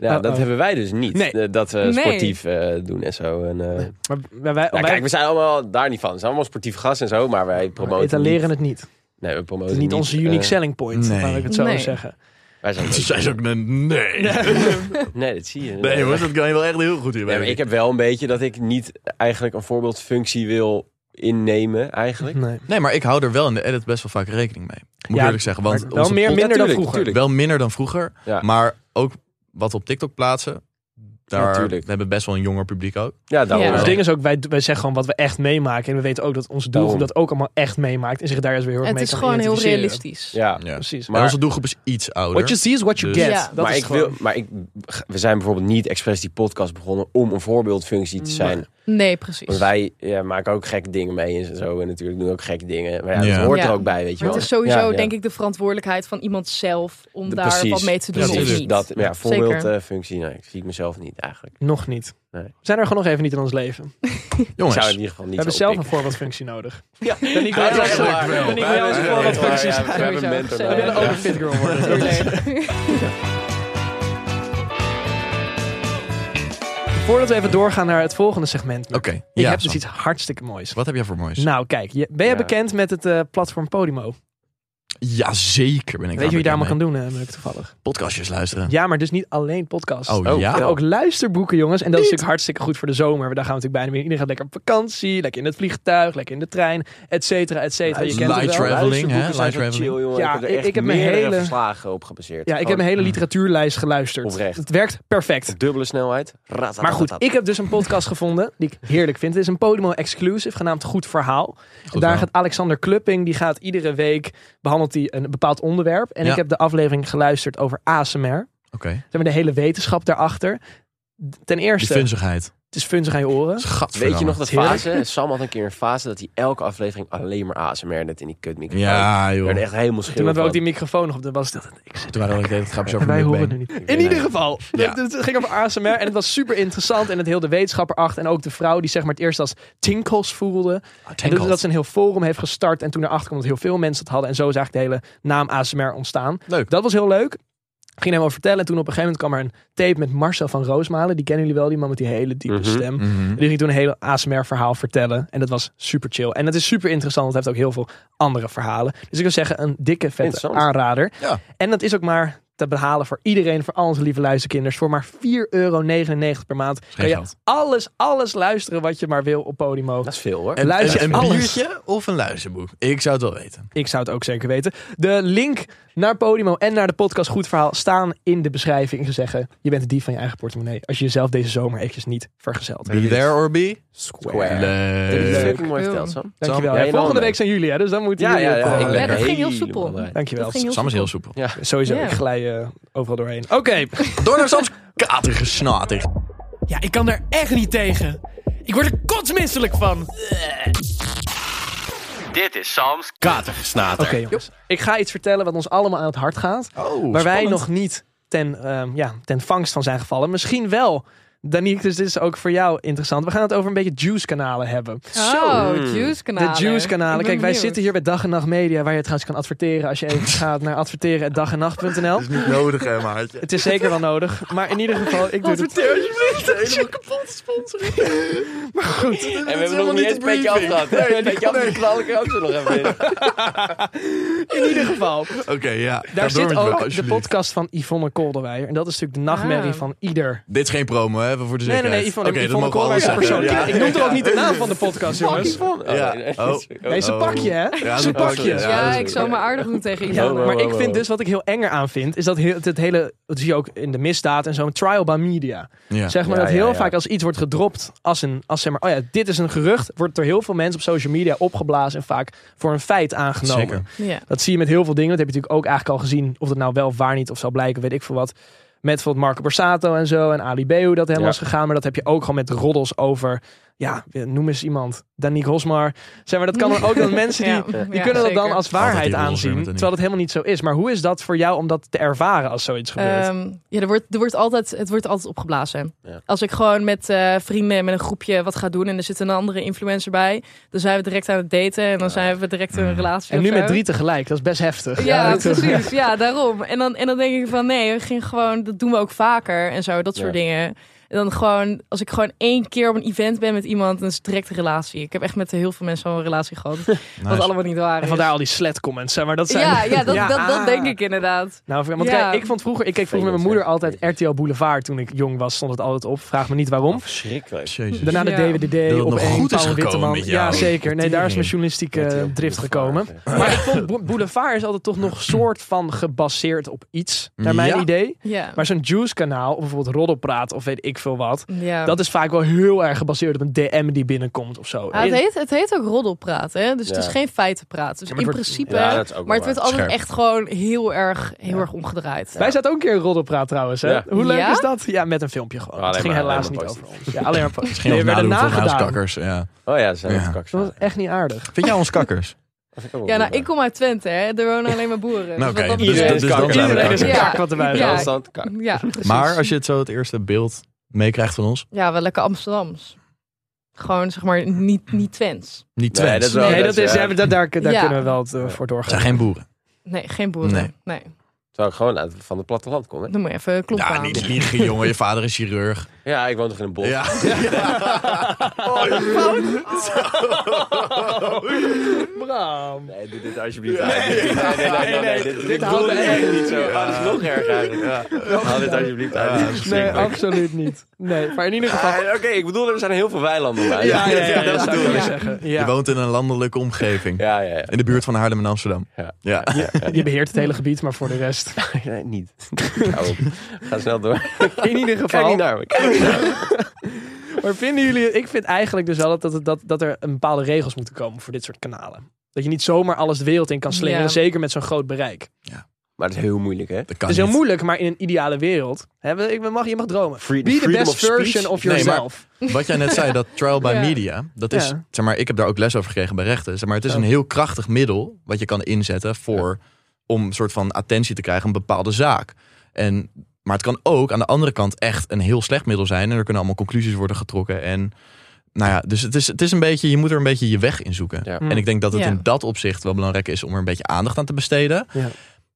Ja, dat Uh-oh. hebben wij dus niet. Nee. Eh, Dat we Nee. sportief eh, doen en zo. En, eh, Maar wij, wij, nou, kijk, wij we zijn allemaal daar niet van. We zijn allemaal sportief gasten en zo, maar wij promoten etaleren niet. het niet. Nee, we promoten Het is niet onze unique eh, selling point, nee. laat ik het zo Nee. zeggen. wij zijn Toen zei ze ook, nee, nee. Nee, dat zie je. Nee hoor, dat kan je wel echt heel goed hier Nee, maar ik heb wel een beetje dat ik niet eigenlijk een voorbeeldfunctie wil innemen eigenlijk. Mhm. Nee. Nee, maar ik hou er wel in de edit best wel vaak rekening mee. Moet ik Ja, eerlijk zeggen. Want maar wel onze meer, pod- minder dan tuurlijk, vroeger. tuurlijk. wel minder dan vroeger. Ja. Maar ook wat we op TikTok plaatsen. Daar Natuurlijk. we hebben best wel een jonger publiek ook. Ja, daarom. Ja. Ons wel. dus ding is ook, wij, wij zeggen gewoon wat we echt meemaken. En we weten ook dat onze doelgroep Daarom. dat ook allemaal echt meemaakt. En zich daar juist weer heel erg Het mee kan is gewoon heel identificeren. realistisch. Ja. Ja. Precies. Maar Maar- onze doelgroep is iets ouder. what you see is what you Dus- get. Ja. Dat maar is ik gewoon- wil, maar ik, we zijn bijvoorbeeld niet expres die podcast begonnen om een voorbeeldfunctie te zijn. Nee, precies. Want wij ja, maken ook gekke dingen mee en zo. En natuurlijk doen we ook gekke dingen. Maar ja, Ja. dat hoort Ja. er ook bij, weet je Maar wel. het is sowieso, Ja, ja. denk ik, de verantwoordelijkheid van iemand zelf om De- daar precies. wat mee te doen Precies. of niet. Dat, ja, Zeker. voorbeeldfunctie, nee, zie ik mezelf niet eigenlijk. Nog niet. Nee. We zijn er gewoon nog even niet in ons leven. Ik zou Jongens, in ieder geval niet we hebben zo zelf een oppikken. voorbeeldfunctie nodig. Ja, Dan niet Ja, wij dat is zelf- waar. wel. Ja, ik wil als ja, voorbeeldfunctie ja, zijn. We hebben een mentor We We willen ook nodig. een fit girl worden. Tuurlijk. Voordat we even doorgaan naar het volgende segment. Mick, Oké, Ik ja, heb dus Sam. iets hartstikke moois. wat heb jij voor moois? Nou, kijk. je- ben jij Ja. bekend met het eh, platform Podimo? Jazeker ben Weet je ik daar wie je daar bekend maar mee. kan doen, eh, Mick, toevallig? Podcastjes luisteren. Ja, maar dus niet alleen podcasts. Oh, Oh, ja? En ja. ook luisterboeken, jongens. En dat is natuurlijk hartstikke goed voor de zomer. Daar gaan we natuurlijk bijna weer. Iedereen gaat lekker op vakantie, lekker in het vliegtuig, lekker in de trein, et cetera, et cetera. Je Light kent het wel. travel. traveling, hè? Luisterboeken zijn Light zo traveling. Chill, jongen. Ja, ik heb, ik- er echt ik heb mijn meerdere hele- verslagen op gebaseerd. Ja, ik heb Gewoon mijn Oh. hele literatuurlijst geluisterd. Oprecht. Het werkt perfect. op dubbele snelheid. Maar goed, ik heb dus een podcast gevonden die ik heerlijk vind. Het is een Podimo exclusive, genaamd Goed Verhaal. En daar verhaal. gaat Alexander Klupping, die gaat iedere week, behandelt hij een bepaald onderwerp. En Ja. ik heb de aflevering geluisterd over ASMR. Oké. Ze hebben de hele wetenschap daarachter. Ten Die eerste, funzigheid. het is funzig aan je oren. Gadverdamme. Weet je nog dat Heerlijk. fase? Sam had een keer een fase dat hij elke aflevering alleen maar ASMR net in die kutmicrofoon. Oh, Ja, Ik joh. werd er echt helemaal Toen schil hebben we ook van. die microfoon nog op. Dan was dat, ik zit Toen waren we ook de hele grapjes En over wij horen het mukbang. nu niet. Ik In ben- ieder geval. Ja. Het, het ging over ASMR en het was super interessant. En het heel de wetenschapper achter. En ook de vrouw die zeg maar het eerst als tinkels voelde. Ah, En dus dat, Tankard. dat ze een heel forum heeft gestart. En toen erachter kwam dat heel veel mensen het hadden. En zo is eigenlijk de hele naam ASMR ontstaan. Leuk. Dat was heel leuk. Ging hem over vertellen. En toen op een gegeven moment kwam er een tape met Marcel van Roosmalen. Die kennen jullie wel, die man met die hele diepe Mhm. stem. Mhm. En die ging toen een hele ASMR-verhaal vertellen. En dat was super chill. En dat is super interessant, want hij heeft ook heel veel andere verhalen. Dus ik wil zeggen, een dikke vette Interessant. aanrader. Ja. En dat is ook maar te behalen voor iedereen, voor al onze lieve luisterkinders. Voor maar 4,99 euro per maand geen kan je geld. alles, alles luisteren wat je maar wil op Podimo. Dat is veel hoor. En- Luister, een alles. biertje of een luisterboek? Ik zou het wel weten. Ik zou het ook zeker weten. De link naar Podimo en naar de podcast Goed Verhaal staan in de beschrijving. Ze zeggen, je bent de dief van je eigen portemonnee. Als je jezelf deze zomer eventjes niet vergezeld. Be there or be Square. Heb je leuk. dat fucking mooi verteld, Sam? Dankjewel. Sam, Ja, jij volgende dan, week hè? zijn jullie, hè? Dus dan moeten jullie... ook, eh, ik ben- Ja, dat ging heel helemaal soepel. onderuit. Dankjewel. Dat ging heel Sam is heel soepel. soepel. Sowieso, Ja. ik glij eh, overal doorheen. Oké. Door naar Sam's katergesnater. Ja, ik kan daar echt niet tegen. Ik word er kotsmisselijk van. Dit is Sam's Oké, jongens. Ik ga iets vertellen wat ons allemaal aan het hart gaat. Oh, waar wij nog niet ten, ehm, ja, ten vangst van zijn gevallen. Misschien wel, Danique, dus dit is ook voor jou interessant. We gaan het over een beetje juice-kanalen hebben. Oh, juice kanalen. De juice-kanalen. Kijk, wij zitten hier bij Dag en Nacht Media, waar je trouwens kan adverteren als je even gaat naar adverteren.dagennacht.nl. niet nodig, hè, maatje. Het is zeker wel nodig, maar in ieder geval, ik doe het. En we hebben nog niet eens een petje afgehad. Een petje af, die knal ik er ook zo nog even in. In ieder geval, Oké, ja. daar Ga door zit met me, ook de alsjeblieft. podcast van Yvonne Kolderweijer. En dat is natuurlijk de nachtmerrie Ah. van ieder Dit is geen promo, hè? Voor de Nee, nee, zekerheid. nee, Yvonne, Oké, dat Yvonne mogen we allemaal Koolwijk zeggen. persoon. Ja. Ik noem toch ook niet de naam van de podcast, jongens. Ja. Oh. Nee, ze pak je, hè? Ja, Ze dat pak is- je. ja, Ja, dat is- ik zou maar aardig doen tegen Ja, iemand. wow, maar ik wow, vind wow. dus wat ik heel enger aan vind, is dat heel- het, het hele, dat zie je ook in de misdaad en zo, een trial by media. Ja. Zeg maar Ja, dat ja, heel ja. vaak als iets wordt gedropt, als, een, als zeg maar, oh ja, dit is een gerucht, wordt door heel veel mensen op social media opgeblazen en vaak voor een feit aangenomen. Zeker. Ja. Dat zie je met heel veel dingen. Dat heb je natuurlijk ook eigenlijk al gezien. Of dat nou wel of waar niet of zal blijken, weet ik veel wat. Met bijvoorbeeld Marco Borsato en zo. En Ali B, hoe dat helemaal Ja. is gegaan. Maar dat heb je ook gewoon met roddels over... Ja, noem eens iemand. Danique Hosmar. Zeg maar, dat kan dan ook dat mensen die, Ja, die ja, kunnen dat dan zeker. als waarheid Altijd die roddels weer aanzien. met Danique. Terwijl dat helemaal niet zo is. Maar hoe is dat voor jou om dat te ervaren als zoiets gebeurt? Ehm, ja, er wordt, er wordt altijd, het wordt altijd opgeblazen. Ja. Als ik gewoon met eh, vrienden, met een groepje wat ga doen en er zit een andere influencer bij, dan zijn we direct aan het daten en dan zijn we direct in een relatie. en of nu zo. met drie tegelijk, dat is best heftig. Ja, dat- precies. Ja, daarom. En dan, en dan denk ik van nee, we gingen gewoon, dat doen we ook vaker en zo, dat soort Ja. dingen. En dan gewoon, als ik gewoon één keer op een event ben met iemand, dan is het direct een relatie. Ik heb echt met heel veel mensen al een relatie gehad, wat allemaal niet waar En is. vandaar al die slet comments. Zeg maar, dat zijn Ja, ja, dat, Ja, dat, dat ah. denk ik inderdaad. Nou, want Ja. kijk, ik vond vroeger, ik keek vroeger met mijn moeder altijd RTL Boulevard toen ik jong was, stond het altijd op. Vraag me niet waarom. Verschrikkelijk. Jezus. Daarna de Ja. DWDD Dat het op nog één, goed is Paul gekomen Witteman. met Ja, jou. zeker. Nee, daar is mijn journalistieke eh, RTL drift gekomen. Boulevard, Maar ik vond Bo- Boulevard is altijd toch nog soort van gebaseerd op iets, naar mijn Ja. idee. Ja. Maar zo'n Juice kanaal, of bijvoorbeeld Roddelpraat of weet ik veel wat, ja. dat is vaak wel heel erg gebaseerd op een DM die binnenkomt of zo. Ja, het, heet, het heet ook roddelpraat, hè? dus Ja. het is geen feitenpraat. Dus Ja, in maar het wordt- principe, Ja, dat is ook wel maar het wordt waar. altijd Scherp. echt gewoon heel erg, heel erg omgedraaid. Wij zaten ook een keer in Roddelpraat trouwens. Hè? Ja. Hoe leuk Ja? is dat? Ja, met een filmpje gewoon. Alleen het ging maar- helaas alleen niet maar over ons. Ja, alleen maar positief. Nee, Geen we werden nadoen van nagedaan. huiskakkers. Ja. Oh ja, ze zijn Ja. het Dat was kakzaam. echt niet aardig. Vind jij ons kakkers? Ja, nou, ik kom uit Twente, hè? er wonen alleen maar Nou, boeren. Dus oké. wat dat Dus, betreft- dus dan zijn we Iedereen is kakkers. een Ja. kak wat erbij Ja. was. Constant kak. ja, precies. Maar als je het zo het eerste beeld meekrijgt van ons, Ja, wel lekker Amsterdams. Gewoon, zeg maar, niet, niet Twents. niet Nee, Twents. dat is wel- Nee, dat is, ja. ja, daar, daar daar Ja. kunnen we wel het, eh, voor Het doorgaan. zijn geen boeren. Nee, geen boeren. Nee. Nee. Zou ik gewoon uit, van het platteland komen? Dan moet je even kloppen Ja, aan. niet liegen, jongen. Je vader is chirurg. Ja, ik woon toch in een bos. Ja. Bram. Nee, doe dit alsjeblieft uit. Nee, nee, nee. nee, nee, dit- Dit houdt houdt er echt niet zo. Ah, Dat is nog erger eigenlijk. Ja. Haal dit alsjeblieft uit. Dit is Nee, verschrikkelijk. absoluut niet. Nee, maar in ieder geval... Ah, Oké, ik bedoel, er zijn heel veel weilanden bij. Ja, dat zou ik bedoel willen ik. zeggen. Je Ja. woont in een landelijke omgeving. Ja, ja, ja. In de buurt van Haarlem en Amsterdam. Ja. Ja. Je beheert het hele gebied, maar voor de rest. Nee, niet. Hou op. Ga snel door. In ieder Kijk geval. niet naar me. Kijk niet naar me. Maar vinden jullie... Ik vind eigenlijk dus wel dat, dat, dat, dat er een bepaalde regels moeten komen voor dit soort kanalen. Dat je niet zomaar alles de wereld in kan slingeren. Ja. Zeker met zo'n groot bereik. Maar het is heel moeilijk, hè? Dat kan Het is heel niet. moeilijk, maar in een ideale wereld. Hè, we- ik mag, je mag dromen. Free- Be the freedom best of speech? version of Nee, maar- yourself. Wat jij net zei, dat trial by Ja. media, dat is, Ja. zeg maar, ik heb daar ook les over gekregen bij rechten. Zeg maar, het is Ja. een heel krachtig middel wat je kan inzetten voor, om een soort van attentie te krijgen, een bepaalde zaak. En, maar het kan ook aan de andere kant echt een heel slecht middel zijn. En er kunnen allemaal conclusies worden getrokken. En, nou ja, dus het is, het is een beetje, je moet er een beetje je weg in zoeken. Ja. En ik denk dat het Ja. in dat opzicht wel belangrijk is om er een beetje aandacht aan te besteden. Ja.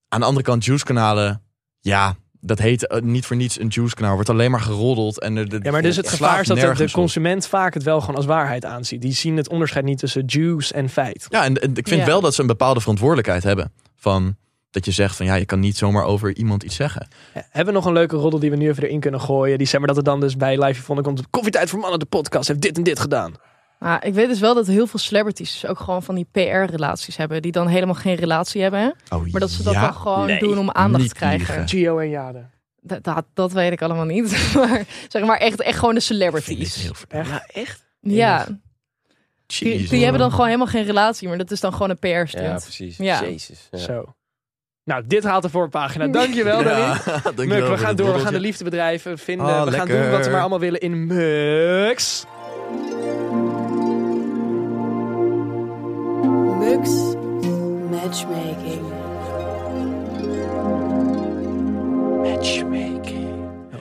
Aan de andere kant, juice-kanalen, ja, dat heet eh, niet voor niets een juice-kanaal. Wordt alleen maar geroddeld. En er, de, Ja, maar dus het slaat gevaar is dat de, de nergens op. consument vaak het wel gewoon als waarheid aanziet. Die zien het onderscheid niet tussen juice en feit. Ja, en, en ik vind Ja. wel dat ze een bepaalde verantwoordelijkheid hebben. Van dat je zegt van ja, je kan niet zomaar over iemand iets zeggen. Hebben we nog een leuke roddel die we nu even erin kunnen gooien? Die zeg maar dat het dan dus bij Live Yvonne komt. Koffietijd voor mannen, de podcast heeft dit en dit gedaan. Maar ik weet dus wel dat heel veel celebrities dus ook gewoon van die PR-relaties hebben. Die dan helemaal geen relatie hebben. hè. Oh, Maar dat ze dat dan gewoon doen om aandacht te niet krijgen. liegen. Gio en Jade. Dat, dat, dat weet ik allemaal niet. Maar, zeg maar echt, echt gewoon de Vind ik celebrities. heel ver- Ja, die, Jeez. die hebben dan gewoon helemaal geen relatie. Maar dat is dan gewoon een Ja, PR-stunt. precies. Ja. Jezus. Ja. Zo. Nou, dit haalt de voorpagina. Dankjewel, Danny. Ja, dankjewel Muk, voor we gaan door. dit We roddeltje. gaan de liefde bedrijven vinden. Ah, we gaan lekker. doen wat we maar allemaal willen in Mux. Mux Matchmaking.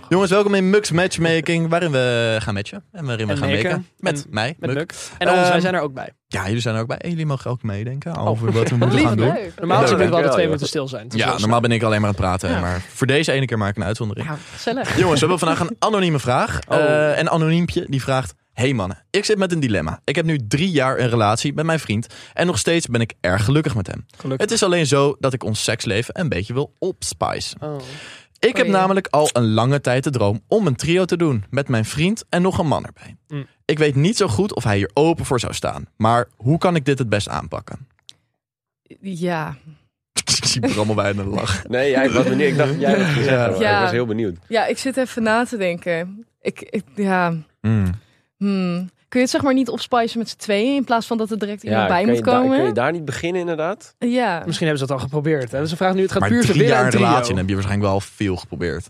Jongens, welkom in Mux Matchmaking, waarin we gaan matchen. En waarin we En gaan maken. maken. Met mij, Met Muk. Muk. En ons, wij Ehm, zijn er ook bij. Ja, jullie zijn er ook bij. En jullie mogen ook meedenken over Oh. wat we moeten Lief, gaan doen. Leuk. Normaal gezien Ja, willen we altijd dankjewel, twee joh. minuten stil zijn. Het is Ja, wel normaal ben ik alleen maar aan het praten. Ja. Maar voor deze ene keer maak ik een uitzondering. Nou, gezellig. Jongens, we hebben vandaag een anonieme vraag. Oh. Eh, een anoniempje die vraagt... Hey mannen, ik zit met een dilemma. Ik heb nu drie jaar een relatie met mijn vriend... en nog steeds ben ik erg gelukkig met hem. Gelukkig. Het is alleen zo dat ik ons seksleven een beetje wil opspicen. snel. Oh. Ik heb Oei. namelijk al een lange tijd de droom om een trio te doen... met mijn vriend en nog een man erbij. Mm. Ik weet niet zo goed of hij hier open voor zou staan. Maar hoe kan ik dit het best aanpakken? Ja. ik zie Bram al bijna lachen. Nee, ja, ik was benieuwd. Ik dacht, jij was, ja. Ja. ik was heel benieuwd. ja, ik zit even na te denken. Ik, ik- ja, Mm. hmm. Kun je het zeg maar niet opspicen met z'n tweeën... in plaats van dat er direct iemand Ja, bij kan moet je daar- komen? kun je daar niet beginnen inderdaad? Ja. Misschien hebben ze dat al geprobeerd. Hè? Dus ze vragen nu, het gaat Maar puur te drie winnen jaar aan een trio. relatie... dan heb je waarschijnlijk wel veel geprobeerd.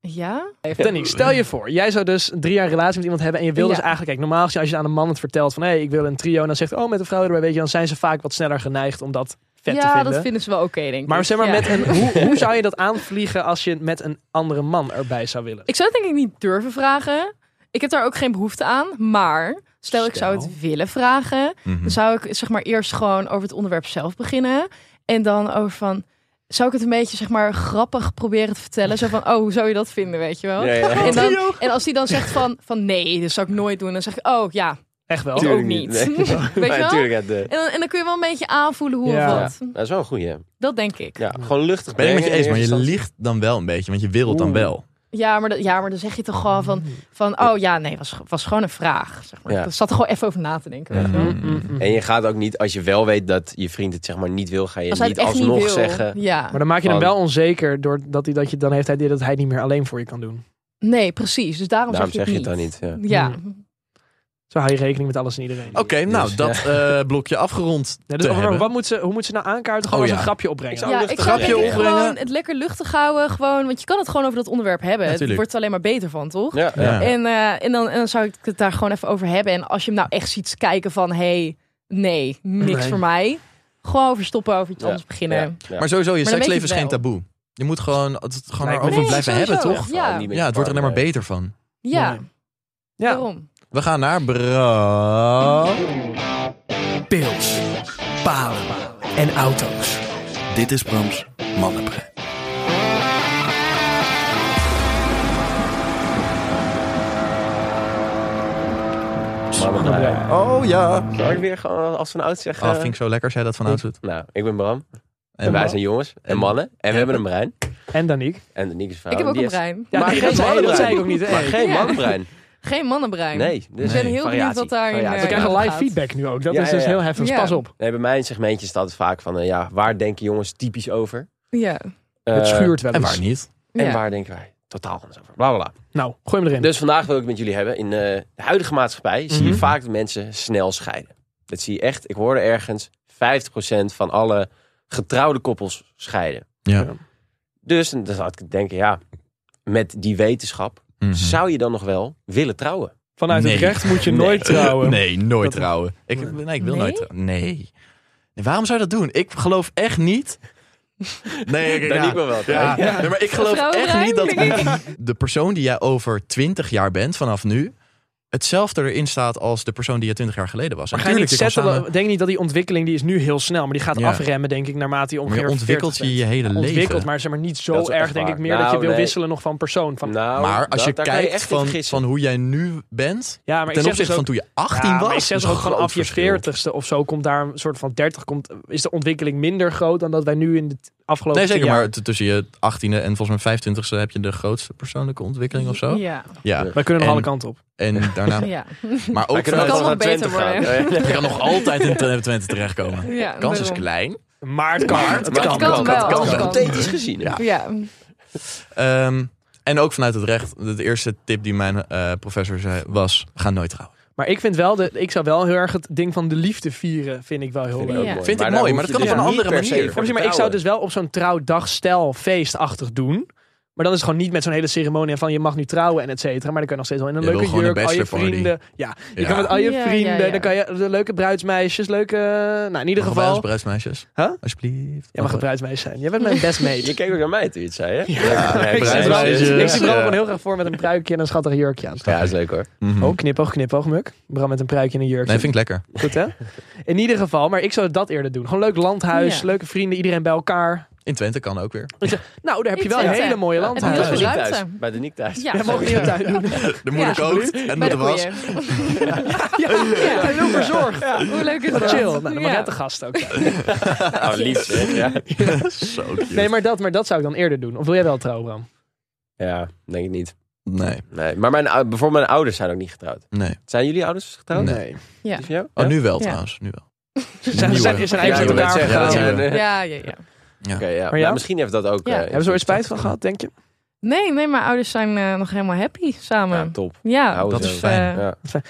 Ja? Even Danny, stel je voor, jij zou dus drie jaar een relatie met iemand hebben en je wil Ja. dus eigenlijk, kijk, normaal gezien als je aan een man het vertelt van, hé, hey, ik wil een trio, en dan zegt, oh, met een vrouw erbij, weet je, dan zijn ze vaak wat sneller geneigd om dat vet te ja, vinden. dat vinden ze wel oké, denk ik. Maar zeg maar, Ja. met een, hoe, hoe zou je dat aanvliegen als je met een andere man erbij zou willen? Ik zou het denk ik niet durven vragen. Ik heb daar ook geen behoefte aan. Maar stel, ik zou Stel. Hm. het willen vragen, Mhm. dan zou ik zeg maar eerst gewoon over het onderwerp zelf beginnen. En dan over van, zou ik het een beetje zeg maar grappig proberen te vertellen? Zo van, oh, hoe zou je dat vinden, weet je wel? Ja, ja. Oh. En, dan, en als die dan zegt van, van nee, dat zou ik nooit doen. Dan zeg ik, oh ja, Echt wel? ook Tuurlijk niet. niet, Weet je wel? Ja, natuurlijk. ja, de- En dan, en dan kun je wel een beetje aanvoelen hoe Ja. of wat. Dat is wel een goeie. Dat denk ik. Ja, Ja, gewoon luchtig Ben ik met je eens, brengen maar in eerste je liegt dan wel een beetje, want je wil het dan Oeh. wel. maar, dat, ja maar dan zeg je toch gewoon van, van oh ja, nee, was, was gewoon een vraag. Zeg maar. Ja. Ik zat er gewoon even over na te denken. weet je wel. Mm, Mhm. instantie. En je gaat ook niet, als je wel weet dat je vriend het zeg maar niet wil, ga je Als hij niet het echt alsnog niet wil. zeggen. Ja. Maar dan maak je hem Van- wel onzeker, doordat hij, dat je, dan heeft hij het idee dat hij het niet meer alleen voor je kan doen. Nee, precies. Dus daarom, Daarom zeg zeg ik je het dan niet. Ja. niet. Ja. Zo hou je rekening met alles en iedereen. Oké, nou, Dus, dat eh, blokje afgerond Ja, te dus over- hebben. wat moet ze, hoe moet ze nou aankaarten? Gewoon als Oh, ja. een grapje opbrengen. Ik zou- ja, luchtig ik zou denk grapje ik opbrengen. gewoon het lekker luchtig houden. Gewoon, want je kan het gewoon over dat onderwerp hebben. Het Natuurlijk. wordt er alleen maar beter van, toch? Ja, ja. Ja. En, eh, en, dan, en dan zou ik het daar gewoon even over hebben. En als je hem nou echt ziet kijken van... hey, nee, niks Nee. voor mij. Gewoon overstoppen, over iets Ja. anders beginnen. Ja. Ja. Maar sowieso, je Maar dan weet je seksleven het is geen wel. taboe. Je moet gewoon het gewoon Lijkt me erover niet. blijven sowieso. hebben, toch? Ja. Niet met Ja, je het wordt er alleen maar partner. beter van. Ja, Mooi. Ja, daarom. We gaan naar bra. Pils, palen en auto's. Dit is Brams Mannenbrein. Mannenbrein. Oh ja. Zal ik weer gewoon als van oud zeggen? Ah, vind ik zo lekker als jij dat van doet. Nou, ik ben Bram. En, En wij zijn jongens en mannen. En we hebben een brein. en Danique. En de Niek is vrouw. Ik heb ook Die een heeft- brein. Ja, Maar nee, geen dat zei- dat mannenbrein. zei ik ook niet. hè. Maar Hey. geen Ja. manbrein. Geen mannenbrein. Nee. Dus Ik ben heel benieuwd variatie. wat daarin... Variatie. eh, We krijgen gaat. live feedback nu ook. Dat Ja, is ja, dus ja. heel heftig. Ja. Pas op. Nee, bij mij in segmentje staat het vaak van... eh, ja, waar denken jongens typisch over? Ja. Het Eh, schuurt wel En eens. waar niet? En ja. waar denken wij totaal anders over? Bla, bla, bla. Nou, gooi hem erin. Dus vandaag wil ik het met jullie hebben. In eh, de huidige maatschappij zie je vaak dat mensen snel scheiden. Dat zie je echt. Ik hoorde ergens 50% van alle getrouwde koppels scheiden. Ja. Dus en dan zou ik denken, ja, met die wetenschap Mhm. zou je dan nog wel willen trouwen. Vanuit Nee. het recht moet je nooit trouwen. Nee, nooit Dat- trouwen. Ik, nee, ik wil Nee? nooit trouwen. Nee. Nee, Waarom zou je dat doen? Ik geloof echt niet. Nee, ik, Daar ja. liep me wel. Ja. Nee, maar ik geloof echt Vrouwenbrein, niet dat denk de persoon die jij over 20 jaar bent vanaf nu hetzelfde erin staat als de persoon die je 20 jaar geleden was. Maar En ga je niet tuurlijk, je kan settelen? samen- Denk niet dat die ontwikkeling die is nu heel snel, maar die gaat Ja. afremmen, denk ik, naarmate je maar ongeveer je ontwikkelt 40 je je bent. hele Ontwikkeld, leven. maar zeg maar niet Dat zo is echt erg, denk ik, waar. meer dat je Nou, wil nee. wisselen nog van persoon. Van, Nou, Maar als dat- je daar kan je kijkt echt in van, vergissen. van hoe jij nu bent, ja, maar ik ten zeg dus opzichte ook, van toen je 18 ja, was, maar ik zeg dus is ook een groot vanaf je verschil. 40ste of zo komt daar een soort van 30 komt, is de ontwikkeling minder groot dan dat wij nu in de t- afgelopen Nee, zeker, tien jaar- maar t- tussen je 18e en volgens mij 25e heb je de grootste persoonlijke ontwikkeling of zo. Ja. Ja. Wij kunnen nog En- alle kanten op. En daarna, Ja. maar Wij ook kunnen vanuit, kan altijd nog naar beter 20 gaan. Ja, je kan nog altijd in 20 terechtkomen. ja Kans is daarom. klein. Maar het kan. Het kan. kan wel, het het wel. kan. Theoretisch gezien. Ja. Ja. Ehm, en ook vanuit het recht, de de eerste tip die mijn eh, professor zei was, ga nooit trouwen. Maar ik vind wel, de, ik zou wel heel erg het ding van de liefde vieren, vind ik wel heel Vind ik leuk. ook Ja. mooi. Vind ik daar hoef mooi, maar dat je kan op dus een andere niet per se manier. voor Ja, te maar ik zou trouwen. dus wel op zo'n trouwdagstel feestachtig doen. Maar dan is het gewoon niet met zo'n hele ceremonie van je mag nu trouwen en et cetera. Maar dan kun je nog steeds wel in een Je wil leuke gewoon een jurk, al je bachelorparty. vrienden. Ja, je Ja. kan met al je Ja, vrienden, ja, ja. dan kan je de leuke bruidsmeisjes, leuke... Nou, in ieder Mogen wij als geval... bruidsmeisjes? Huh? Alsjeblieft. Jij mag een bruidsmeisje zijn. Jij bent mijn best Je mate. keek ook naar mij toen je het zei, hè? Ja, Ik zie bruidsmeisjes. er wel- ik zie er Ja. gewoon heel graag voor met een pruikje en een schattig jurkje aan. Ja, is leuk hoor. Mhm. Oh, knipoog, knipoog, muk. Bram met een pruikje en een jurkje. Nee, vind ik lekker. Goed, hè? In ieder geval, maar ik zou dat eerder doen. Gewoon leuk landhuis, Ja. leuke vrienden, iedereen bij elkaar. In Twente kan ook weer. Nou, daar heb je Ik wel een vind het, hele eh, mooie Ja, heel landhuis. veel Bij de Niek ruimte. thuis. Bij de Niek thuis. Ja, Jij mag niet in de tuin doen. De moeder Ja. kookt en Bij met de de was. koeien. Ja, hij wil verzorgd. Hoe leuk is dat? Chill. Nou, dan mag Ja. net de gast ook. zijn. Oh, lief zeg. Ja. Zo cute. Nee, maar dat, maar dat zou ik dan eerder doen. Of wil jij wel trouwen, Bram? ja, denk ik niet. Nee, Nee. Maar mijn, ou- bijvoorbeeld mijn ouders zijn ook niet getrouwd. nee. Zijn jullie ouders getrouwd? Nee. Ja. Die van jou? Oh, Ja? nu wel Ja. trouwens. Nu wel. Zijn, Nieuwe. zijn, zijn Ja, ik wil eigenlijk met net elkaar zeggen, dat gegaan. zijn- zijn, eh, Ja, ja, ja. Oké, ja. Maar ja? Maar misschien heeft dat ook... Ja. eh, Hebben ze er ooit spijt van gehad, denk je? Nee, nee, mijn ouders zijn eh, nog helemaal happy samen. Ja, Ja, top. dat dat is is fijn. eh, Ja.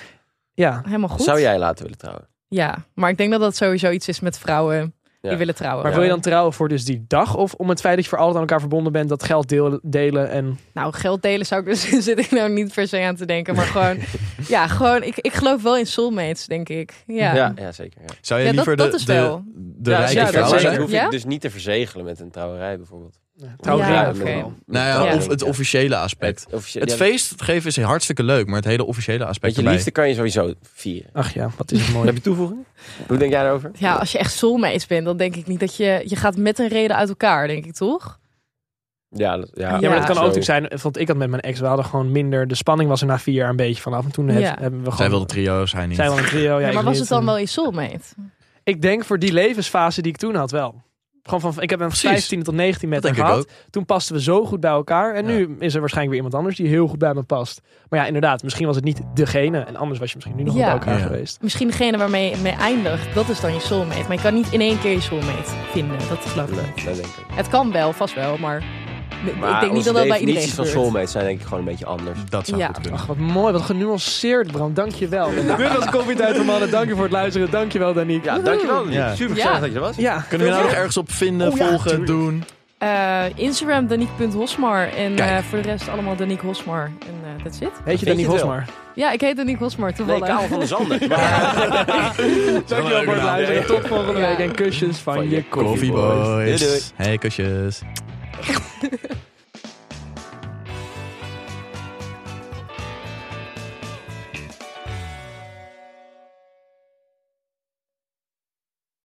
Ja. helemaal goed. Zou jij laten willen trouwen? Ja, maar ik denk dat dat sowieso iets is met vrouwen. Ja. Die willen trouwen. Maar wil je dan trouwen voor dus die dag? Of om het feit dat je voor altijd aan elkaar verbonden bent, dat geld deel- delen en... Nou, geld delen zou ik dus zit ik nou niet per se aan te denken. Maar gewoon, ja, gewoon, ik, ik geloof wel in soulmates, denk ik. Ja. Ja, ja zeker. Ja. Zou je Ja, dat- liever dat de, is de, wel. de Ja, rijke zeker. vrouw Maar zijn? dat hoef Ja? ik dus niet te verzegelen met een trouwerij bijvoorbeeld. Trouwerij, Ja, met oké. een- met Nou een ja, trouwring, of het ja. officiële aspect. Het officiële- Het ja, feest geven is hartstikke leuk, maar het hele officiële Met aspect je erbij. liefde kan je sowieso vieren. Ach ja, wat is het mooi. Heb je toevoeging? Hoe denk jij daarover? Ja, als je echt soulmates bent, dan denk ik niet dat je... Je gaat met een reden uit elkaar, denk ik, toch? Ja, dat- ja. Ja, maar dat Ja. kan ook Zo. natuurlijk zijn, want ik had met mijn ex, we hadden gewoon minder, de spanning was er na vier jaar een beetje vanaf. En toen heb- Ja. hebben we gewoon... Zij wilde trio's, hij niet. Zij wilde een trio, Oh ja, Ja, ik maar was niet. het dan wel je soulmate? Ik denk voor die levensfase die ik toen had wel. Gewoon van, ik heb hem van Precies. 15 tot 19 met Dat hem denk ik gehad. Toen pasten we zo goed bij elkaar. En Ja. nu is er waarschijnlijk weer iemand anders die heel goed bij me past. Maar ja, inderdaad, misschien was het niet degene. En anders was je misschien nu nog Ja. bij elkaar Ja. geweest. Misschien degene waarmee je mee eindigt, dat is dan je soulmate. Maar je kan niet in één keer je soulmate vinden. Dat geloof ik Nee, niet. dat denk ik. Het kan wel, vast wel, maar... ik Maar denk niet onze dat dat bij iedereen definities van gebeurt. soulmates zijn denk ik gewoon een beetje anders. Dat zou Ja. goed kunnen. Ach, wat mooi, wat genuanceerd, Bram. Dank je wel. Dit was Koffietijd voor Mannen. Dank je voor het luisteren. Dank je wel, Danique. Ja, dankjewel. Ja. Super gezellig Ja. dat je er was. Ja. Kunnen we nou nog ergens op vinden, volgen, doen? Eh, Instagram, Danique.hosmar. En Kijk. eh, voor de rest allemaal Danique Hosmar. En dat is it. Weet je Weet je Danique het wel? Hosmar? Ja, ik heet Danique Hosmar, Nee, toevallig. Karel van de Zanden. Maar- Dank je wel voor het naam. luisteren. Tot volgende Ja. week. En kusjes van, Van je je koffieboy. Coffee boys. Doei, doei. Hey, kusjes.